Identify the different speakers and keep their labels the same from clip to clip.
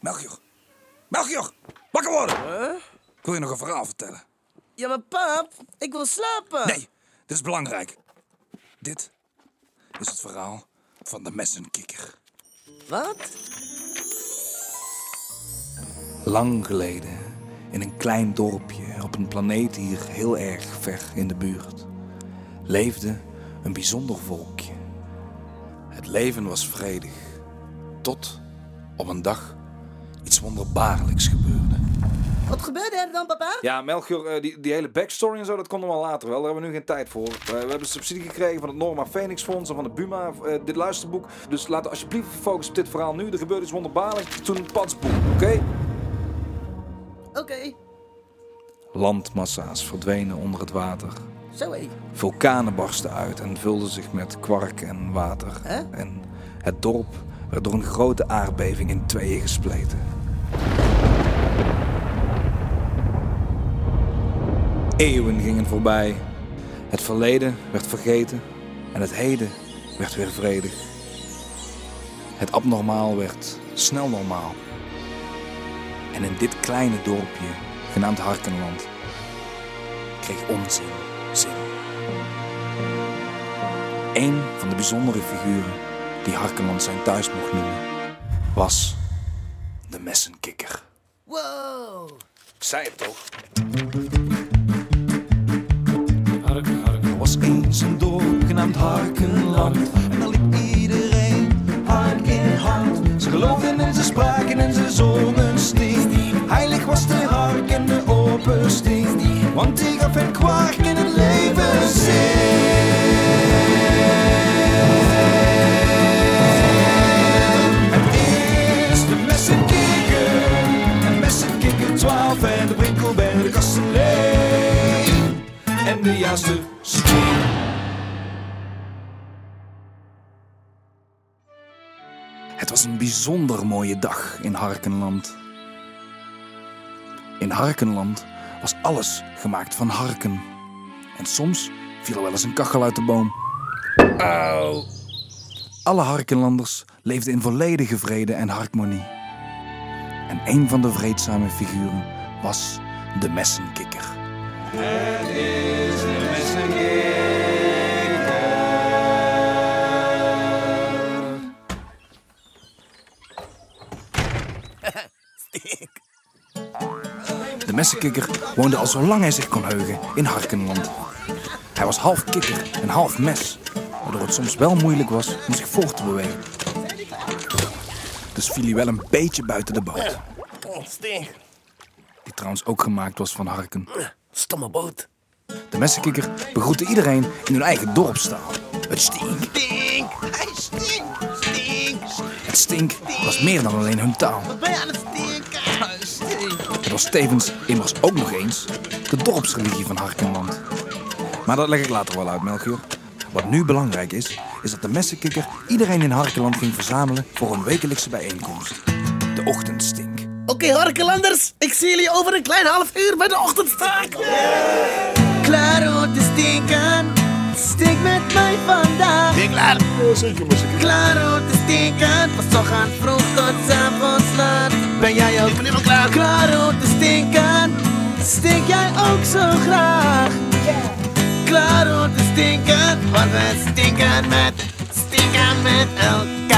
Speaker 1: Melchior. Melchior, wakker worden! Ik wil je nog een verhaal vertellen.
Speaker 2: Ja, maar pap, ik wil slapen.
Speaker 1: Nee, dit is belangrijk. Dit is het verhaal van de messenkikker.
Speaker 2: Wat?
Speaker 1: Lang geleden, in een klein dorpje op een planeet hier heel erg ver in de buurt, leefde een bijzonder volkje. Het leven was vredig, tot op een dag iets wonderbaarlijks gebeurde.
Speaker 2: Wat gebeurde er dan, papa?
Speaker 3: Ja, Melchior, eh, die, die hele backstory en zo, dat komt nog wel later wel. Daar hebben we nu geen tijd voor. Eh, we hebben subsidie gekregen van het Norma Phoenix Fonds en van de Buma, eh, dit luisterboek. Dus laten we alsjeblieft focussen op dit verhaal nu. Er gebeurde iets wonderbaarlijks. Toen een padsboek, oké?
Speaker 2: Oké,
Speaker 1: Landmassa's verdwenen onder het water.
Speaker 2: zo hé.
Speaker 1: Vulkanen barsten uit en vulden zich met kwark en water.
Speaker 2: Hè?
Speaker 1: En het dorp werd door een grote aardbeving in tweeën gespleten. Eeuwen gingen voorbij. Het verleden werd vergeten en het heden werd weer vredig. Het abnormaal werd snel normaal. En in dit kleine dorpje, genaamd Harkenland, kreeg onzin zin. Een van de bijzondere figuren die Harkenland zijn thuis mocht noemen, was de messenkikker.
Speaker 2: Wow.
Speaker 1: Ik zei het toch?
Speaker 4: Harken, harken,
Speaker 1: Er was eens een dorp genaamd Harkenland. En daar liep iedereen hand in hand. Ze geloofden en ze spraken en ze zongen stief. Heilig was de hark en de opperstief. Want die gaf hen kwark en het leven zin. Het is de messenkikker. En messenkikker 12 en de winkel bij de kastelein. En de juiste steen. Het was een bijzonder mooie dag in Harkenland. In Harkenland was alles gemaakt van harken. En soms viel er wel eens een kachel uit de boom. Auw. Alle Harkenlanders leefden in volledige vrede en harmonie. En een van de vreedzame figuren was de messenkikker. De messenkikker woonde al zo lang hij zich kon heugen in Harkenland. Hij was half kikker en half mes, waardoor het soms wel moeilijk was om zich voort te bewegen. Dus viel hij wel een beetje buiten de boot,
Speaker 2: Oh, stink.
Speaker 1: die trouwens ook gemaakt was van harken.
Speaker 2: Stomme boot.
Speaker 1: De messenkikker begroette iedereen in hun eigen dorpstaal. Het stink.
Speaker 2: Stink. Hij stinkt. Stink.
Speaker 1: Het stink was meer dan alleen hun taal.
Speaker 2: Wat ben je aan het stinken? Hij stinkt.
Speaker 1: Het was tevens immers ook nog eens de dorpsreligie van Harkenland. Maar dat leg ik later wel uit, Melchior. Wat nu belangrijk is, is dat de messenkikker iedereen in Harkenland ging verzamelen voor een wekelijkse bijeenkomst. De ochtendstink.
Speaker 2: Oké, Harkelanders, ik zie jullie over een klein half uur bij de ochtendstaak. Klaar om te stinken, stink met mij vandaag. Ben klaar? Klaar om te stinken, van ochtend vroeg tot 's avonds laat. Ben jij ook ik ben helemaal klaar? Klaar om te stinken, stink jij ook zo graag. Klaar om te stinken, want we stinken met, stinken met elkaar.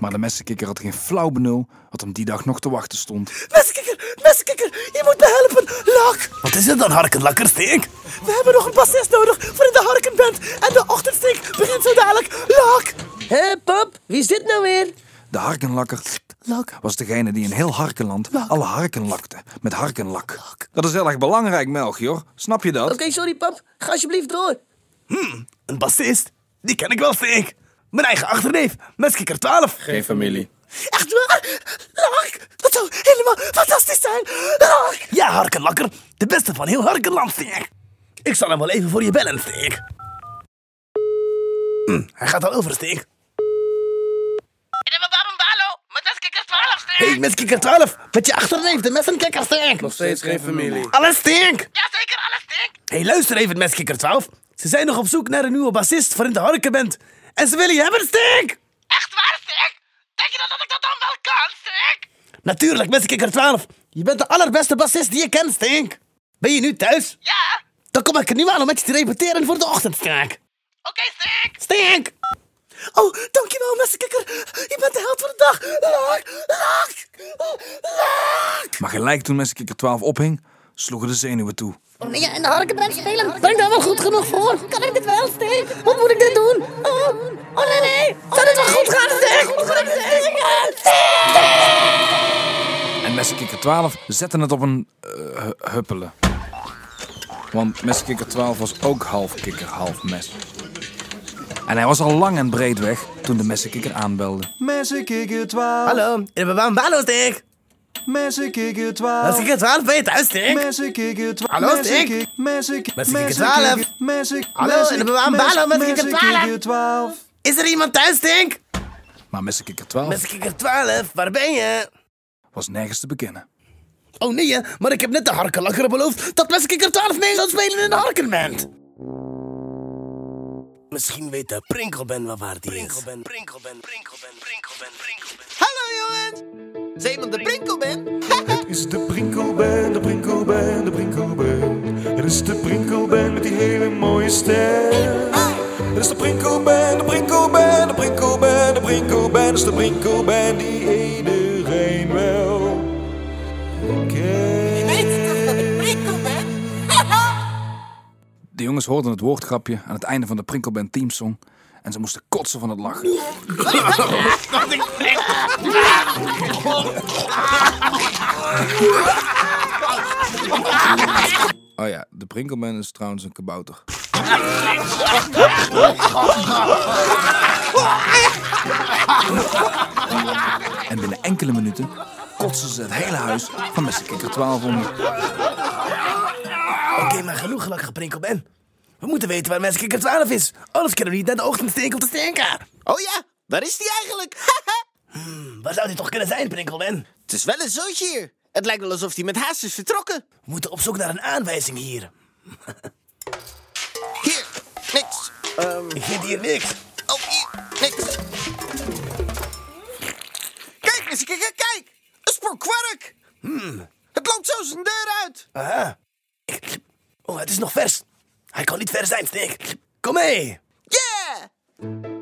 Speaker 1: Maar de messenkikker had geen flauw benul wat hem die dag nog te wachten stond.
Speaker 2: Meskikker, meskikker, je moet me helpen. Lak,
Speaker 5: Wat is het dan, harken lakkersteek?
Speaker 2: we hebben nog een bassist nodig voor in de harkenband. En de ochtendstink begint zo dadelijk. Lak. Hé pap, wie is dit nou weer?
Speaker 1: De harkenlakker was degene die in heel Harkenland alle harken lakte met harkenlak.
Speaker 3: Dat is heel erg belangrijk, Melchior. Snap je dat?
Speaker 2: sorry pap, ga alsjeblieft door.
Speaker 5: Een bassist? Die ken ik wel, steek. Mijn eigen achterneef, Meskikker 12.
Speaker 6: Geen familie.
Speaker 2: Echt waar? Lak, dat zou helemaal fantastisch zijn. Lak.
Speaker 5: Ja, harkenlakker. De beste van heel Harkenland, steek. Ik zal hem wel even voor je bellen, steek. Hm, hij gaat al over, steek. Hey, Meskikker 12, met je achterneef, de messenkikker, steek.
Speaker 6: Nog steeds geen familie.
Speaker 5: Alles stink! Jazeker, alles stink! hey, luister even, Meskikker 12. Ze zijn nog op zoek naar een nieuwe bassist voor in de harkenband. En ze willen je hebben, stink!
Speaker 7: Echt
Speaker 6: Denk je dat ik dat dan wel kan, Stink?
Speaker 5: Natuurlijk, Messenger 12. Je bent de allerbeste bassist die je kent, Stink. Ben je nu thuis?
Speaker 6: Ja.
Speaker 5: Dan kom ik er nu aan om met je te repeteren voor de ochtendstaak.
Speaker 6: Oké, Stink.
Speaker 5: Stink! Oh, dankjewel, messenkikker. Je bent de held van de dag. Laak, laak, laak.
Speaker 1: Maar gelijk toen Messenkikker 12 ophing, sloegen de zenuwen toe.
Speaker 7: Ja, en Oh, de harkenbrand spelen. Ben ik daar wel goed genoeg voor? Kan ik dit wel, Steen? Wat moet ik dit doen? Oh, oh nee, nee. Zou dit wel goed gaan, Steen? Goed gaan,
Speaker 1: En Messenkikker 12 zette het op een eh, hu- huppelen. Want Messenkikker 12 was ook half kikker, half mes. En hij was al lang en breed weg toen de messenkikker aanbelde.
Speaker 5: Hallo, ik ben Baan Balo, Stink.
Speaker 3: Messenkikker 12.
Speaker 5: Messenger 12, ben je thuis, Stink?
Speaker 3: Messenkikker 12.
Speaker 5: Hallo, Stink. Messenkikker 12. Hallo, en we waren Balo, Messenkikker 12.
Speaker 3: 12.
Speaker 5: Is er iemand thuis, Stink?
Speaker 1: Maar Messenkikker 12
Speaker 5: Messenger 12, waar ben je?
Speaker 1: was nergens te bekennen.
Speaker 5: Oh nee, hè, maar ik heb net de harkenlakker beloofd dat Messenger 12 mee zou spelen in de harkenband. Misschien weet de Prinkelband wel waar die is. Prinkelband, Prinkelband, Prinkelband, Prinkelband.
Speaker 2: Hallo jongens! Zijn we de Brinkelman?
Speaker 8: is de Prinkelband, de Prinkelband, de Prinkelband. Het is de Prinkelband met die hele mooie stem. Het is de Prinkelband, de Prinkelband, de Prinkelband, de Prinkelband. Het is de Prinkelband die iedereen wel kent.
Speaker 1: De jongens hoorden het woordgrapje aan het einde van de Prinkelband teamsong en ze moesten kotsen van het lachen. Oh ja, de Prinkelband is trouwens een kabouter. En binnen enkele minuten kotsen ze het hele huis van Messenkikker 12 onder.
Speaker 5: Oké, maar genoeg gelukkige Prinkelband. We moeten weten waar Messenger 12 is. Anders kunnen we niet naar de ochtendsteek op de stinker.
Speaker 2: Oh ja, waar is die eigenlijk?
Speaker 5: Waar zou die toch kunnen zijn, Prinkelband?
Speaker 2: het is wel een zootje hier. Het lijkt wel alsof hij met haast is vertrokken.
Speaker 5: We moeten op zoek naar een aanwijzing hier.
Speaker 2: Hier, niks. Ehm,
Speaker 5: Ik vind hier niks.
Speaker 2: oh, hier, niks. Kijk, eens, kijk, kijk. Een spoor kwark. Hmm, Het loopt zo zijn deur uit.
Speaker 5: Aha. Ik- Oh, het is nog vers. Hij kan niet ver zijn, Stink. Kom mee.
Speaker 2: Yeah!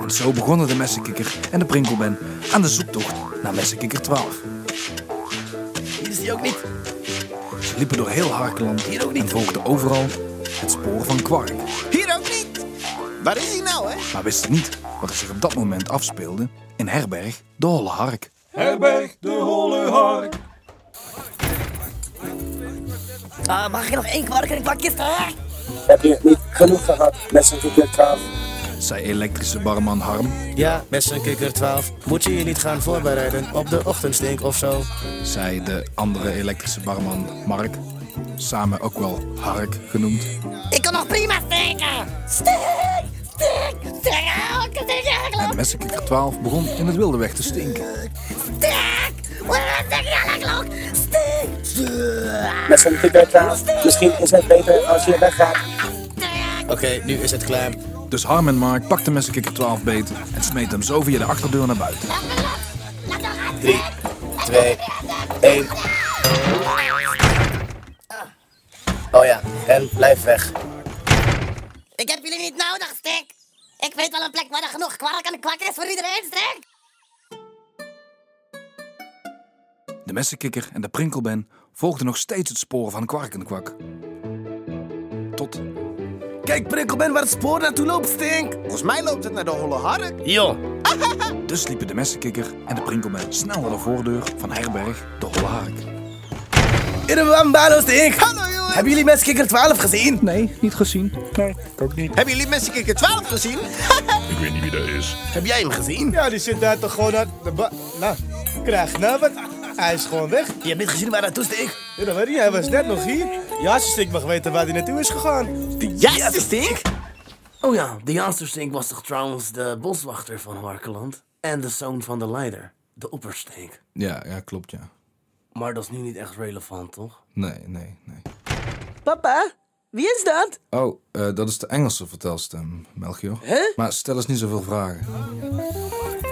Speaker 1: En zo begonnen de messenkikker en de prinkelben aan de zoektocht naar messenkikker 12.
Speaker 5: Hier is hij ook niet.
Speaker 1: Ze liepen door heel Harkeland
Speaker 5: Hier ook niet.
Speaker 1: en volgden overal het spoor van Kwark.
Speaker 2: Hier ook niet. Waar is hij nou, hè?
Speaker 1: Maar wisten niet wat er zich op dat moment afspeelde in Herberg de Holle Hark.
Speaker 3: Herberg de Holle Hark.
Speaker 7: Ah, mag ik nog één kwark en een kwakje staak?
Speaker 9: Heb je niet genoeg gehad met z'n dikke kaaf?
Speaker 1: Zei elektrische barman Harm,
Speaker 10: Ja, best een kikker 12. Moet je je niet gaan voorbereiden op de ochtendstink of zo?
Speaker 1: zei de andere elektrische barman Mark, samen ook wel Hark genoemd.
Speaker 7: Ik kan nog prima steken. Steek, steek, steek. Ah, ik kan tegen
Speaker 1: En
Speaker 7: Harkenland.
Speaker 1: messenkikker 12 begon in het wilde weg te stinken.
Speaker 7: Steek. Wat is tegen Harkenland? Steek.
Speaker 9: Met z'n dikke kaaf? Misschien is het beter als je weggaat.
Speaker 10: Oké, nu is het klaar.
Speaker 1: Dus Harm en Mark pakten messenkikker 12 beter en smeten hem zo via de achterdeur naar buiten.
Speaker 10: Drie, twee, één. Oh ja, en blijf weg.
Speaker 7: Ik heb jullie niet nodig, Stek. Ik weet wel een plek waar er genoeg kwark en kwak is voor iedereen, Stek.
Speaker 1: De messenkikker en de prinkelben volgden nog steeds het spoor van kwarkenkwak. Tot
Speaker 5: Kijk, Prinkelband, waar het spoor naartoe loopt, Stink.
Speaker 2: Volgens mij loopt het naar de holle hark.
Speaker 10: Jo,
Speaker 1: dus liepen de messenkikker en de prinkelben snel naar de voordeur van Herberg de Holle Hark.
Speaker 5: Irwam Balo, Stink.
Speaker 2: Hallo, jongens.
Speaker 5: Hebben jullie Messenger 12 gezien?
Speaker 1: Nee, niet gezien.
Speaker 2: Hebben jullie mensen Kikker 12 gezien?
Speaker 5: Heb jij hem gezien?
Speaker 10: Ja, die zit daar toch gewoon aan de ba... Nou, krijg nou wat. Hij is gewoon weg.
Speaker 5: Je hebt niet gezien waar naartoe, Stink?
Speaker 10: Ja, dat weet ik niet. Hij was net nog hier. Ja, als ik mag weten waar hij naartoe is gegaan.
Speaker 5: Ja, Stink. Oh ja, de Janster Stink was toch trouwens de boswachter van Harkeland? En de zoon van de leider, de opperstink.
Speaker 1: Ja, ja, klopt ja.
Speaker 5: Maar dat is nu niet echt relevant, toch?
Speaker 1: Nee, nee, nee.
Speaker 2: Papa, wie is dat?
Speaker 1: Oh, eh, dat is de Engelse vertelstem, Melchior. Maar stel eens niet zoveel vragen.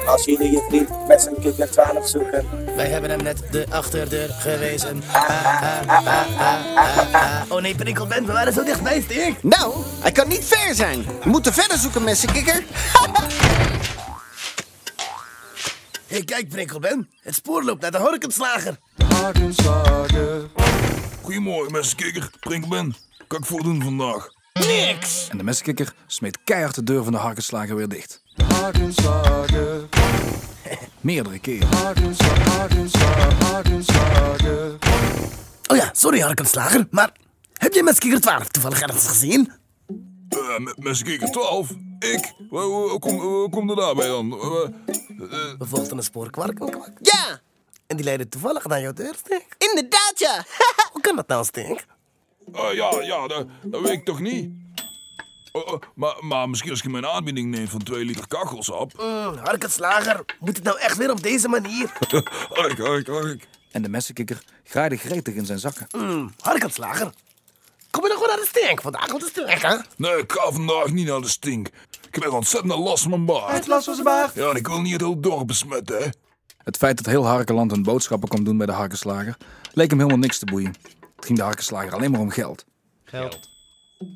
Speaker 9: Als jullie je vriend met zijn kikker 12 zoeken.
Speaker 5: Wij hebben hem net de achterdeur gewezen. Ah, ah, ah, ah, ah, ah. Oh nee, Prinkelband, we waren zo dichtbij, Stink.
Speaker 10: Nou, hij kan niet ver zijn. We moeten verder zoeken, messenkikker.
Speaker 5: Hey, kijk, Prinkelband. Het spoor loopt naar de horkenslager.
Speaker 8: Goedemorgen, messenkikker. Prinkman. Kan ik voordoen vandaag?
Speaker 10: Niks!
Speaker 1: En de messenkikker smeet keihard de deur van de harkenslager weer dicht. Meerdere keren.
Speaker 2: Oh ja, sorry Harkenslager, maar heb je Meskiker 12 toevallig ergens gezien?
Speaker 8: Eh, me- messenkikker 12? Ik? Hoe- Hoe hoe kom, hoe kom er daarbij dan? Eh,
Speaker 5: We volgden een spoor kwark en kwak.
Speaker 10: Ja,
Speaker 5: En die leidde toevallig naar jouw deur, Stink.
Speaker 10: inderdaad ja.
Speaker 5: Hoe kan dat nou, Stink?
Speaker 8: eh, ja, ja, dat, dat weet ik toch niet? Eh, eh, maar, maar misschien als je mijn aanbieding neemt van 2 liter kachelsap.
Speaker 5: Harkenslager, Mm, moet het nou echt weer op deze manier?
Speaker 8: Ark, ark, ark.
Speaker 1: En de messenkikker graaide gretig in zijn zakken.
Speaker 5: Harkenslager, kom je nog wel naar de Stink vandaag? Want het is druk, hè?
Speaker 8: Nee, ik ga vandaag niet naar de stink. Ik heb ontzettend last van mijn baard.
Speaker 10: Last van zijn baard.
Speaker 8: Ja, en ik wil niet het hele dorp besmetten, hè.
Speaker 1: Het feit dat heel Harkenland hun boodschappen kon doen bij de harkenslager leek hem helemaal niks te boeien. Het ging de harkenslager alleen maar om geld.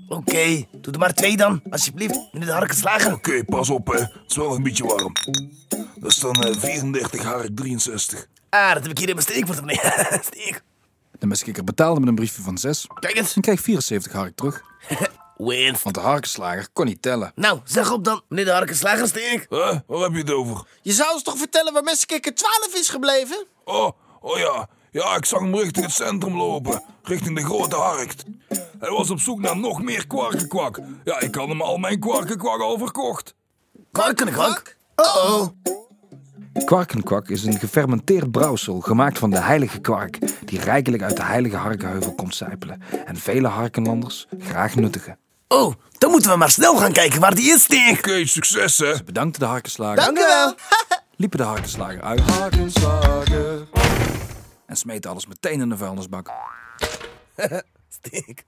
Speaker 5: Oké, doe er maar twee dan, alsjeblieft. Meneer de Harkenslager.
Speaker 8: Oké, pas op, hè. Het is wel een beetje warm. Dat is dan eh, 34 hark 63.
Speaker 5: Ah, dat heb ik hier in mijn steek voor te nemen. Steek.
Speaker 1: De messenkikker betaalde met een briefje van 6
Speaker 5: Kijk eens.
Speaker 1: en kreeg 74 hark terug.
Speaker 5: Winst.
Speaker 1: Want de harkenslager kon niet tellen.
Speaker 5: Nou, zeg op dan, meneer de Harkenslager, Steek.
Speaker 8: Hè? Waar heb je het over?
Speaker 10: Je zou ons toch vertellen waar messenkikker 12 is gebleven?
Speaker 8: Oh, oh ja. Ja, ik zag hem richting het centrum lopen. Richting de grote harkt. Hij was op zoek naar nog meer kwarkenkwak. Ja, ik had hem al mijn kwarkenkwak al verkocht.
Speaker 5: Kwarkenkwak.
Speaker 1: Kwarkenkwak is een gefermenteerd brouwsel gemaakt van de heilige kwark, die rijkelijk uit de heilige harkenheuvel komt sijpelen en vele harkenlanders graag nuttigen.
Speaker 5: Oh, dan moeten we maar snel gaan kijken waar die is, Steek.
Speaker 8: Oké, succes, hè.
Speaker 1: Bedankte de harkenslager,
Speaker 10: Dank u wel.
Speaker 1: liepen de harkenslager uit en smeten alles meteen in de vuilnisbak.
Speaker 5: Steek.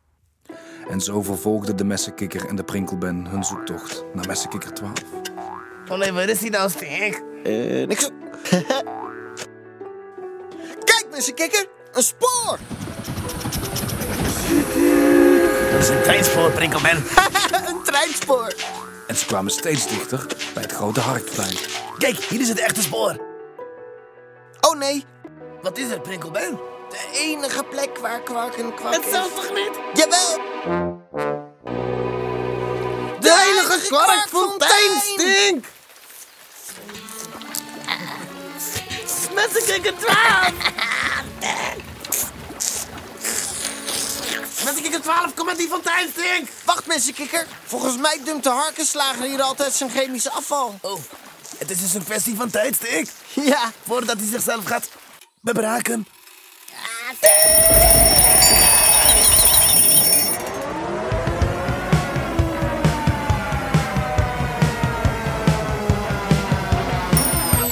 Speaker 1: En zo vervolgden de messenkikker en de prinkelben hun zoektocht naar messenkikker 12.
Speaker 5: Oh nee, waar is die nou, Steek?
Speaker 10: Eh, niks. Kijk, messenkikker. Een spoor.
Speaker 5: Dat is een tijdspoor, Prinkelman.
Speaker 10: een treinspoor.
Speaker 1: En ze kwamen steeds dichter bij het grote harkplein.
Speaker 5: Kijk, hier is het echte spoor.
Speaker 10: Oh nee,
Speaker 5: Wat is er, Prinkelman?
Speaker 10: de enige plek waar kwark en kwak
Speaker 2: Het
Speaker 10: is.
Speaker 2: zal toch niet?
Speaker 10: Jawel. De heilige kwarkfontein stink.
Speaker 2: Meskiker 12! Meskiker 12, kom uit die fontein, Stink!
Speaker 10: Wacht, messenkikker. Volgens mij dumpt de harkenslager hier altijd zijn chemische afval.
Speaker 5: Oh, het is dus een kwestie van tijd, Steek.
Speaker 10: Ja,
Speaker 5: Voordat hij zichzelf gaat bebraken.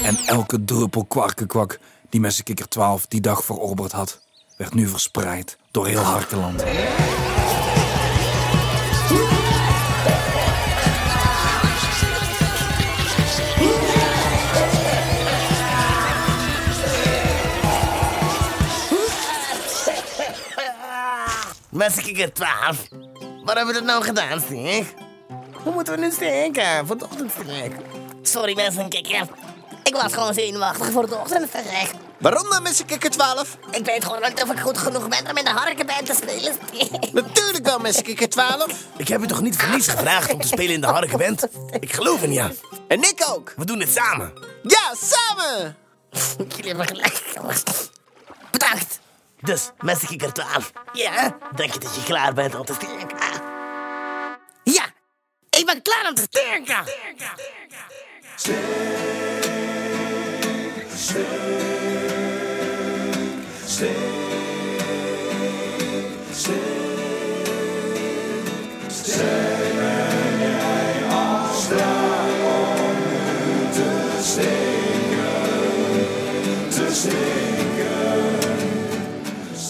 Speaker 1: En elke druppel kwarkenkwak die messenkikker 12 die dag verorberd had, werd nu verspreid door heel Harkenland.
Speaker 5: Messenkikker 12. Wat hebben we dat nou gedaan, Stink? Hoe moeten we nu stinken voor de ochtendstrik?
Speaker 7: Sorry mensen, kikker. Ik was gewoon zenuwachtig voor de ochtendverrek.
Speaker 10: waarom dan messenkikker 12?
Speaker 7: Ik weet gewoon niet of ik goed genoeg ben om in de harkenband te spelen.
Speaker 10: Natuurlijk wel messenkikker 12.
Speaker 5: Ik heb je toch niet voor niets gevraagd om te spelen in de harkenband? Ik geloof in jou.
Speaker 10: En ik ook.
Speaker 5: We doen het samen.
Speaker 10: Ja, samen.
Speaker 7: Jullie hebben gelijk. jongens. Bedankt.
Speaker 5: Dus, messenkikker 12.
Speaker 7: Ja?
Speaker 5: Denk je dat je klaar bent om te stinken?
Speaker 7: Ja. Ik ben klaar om te stinken.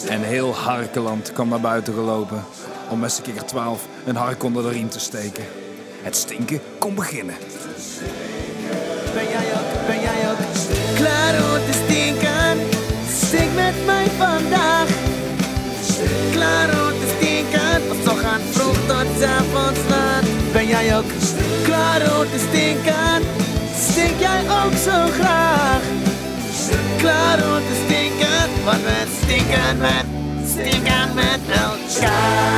Speaker 1: En heel Harkenland kwam naar buiten gelopen om messenkikker 12 een hark onder de riem te steken. Het stinken kon beginnen.
Speaker 10: Ben jij ook, ben
Speaker 2: met mij vandaag. Klaar om te stinken, want zo gaan vroeg tot 's avonds laat. Ben jij ook klaar om te stinken? Stink jij ook zo graag? Klaar om te stinken, want we stinken met, stinken met elkaar.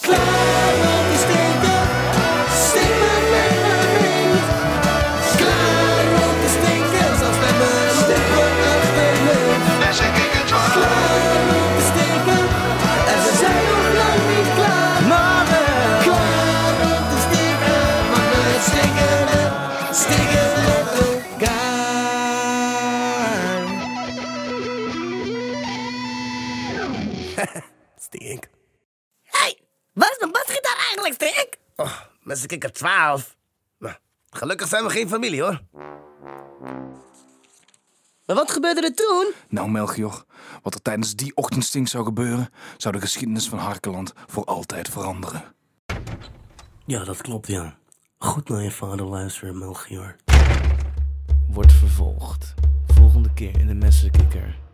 Speaker 2: Klaar om te stinken, stink maar met me mee. Klaar om te stinken, zoals met me lopen achter me. Klaar om te stinken, en ze zijn nog lang niet klaar. Klaar om te stinken, maar we stinken en stinken met elkaar.
Speaker 10: Stink.
Speaker 6: Hey, waar is mijn basgitaar eigenlijk, Strik?
Speaker 10: Oh, mensen kikken 12. Nou, gelukkig zijn we geen familie hoor.
Speaker 6: Maar wat gebeurde er toen?
Speaker 1: Nou, Melchior, wat er tijdens die ochtendstink zou gebeuren, zou de geschiedenis van Harkeland voor altijd veranderen.
Speaker 5: Ja, dat klopt, ja. Goed naar je vader luisteren, Melchior. Wordt vervolgd.
Speaker 11: Volgende keer in de Messenkikker.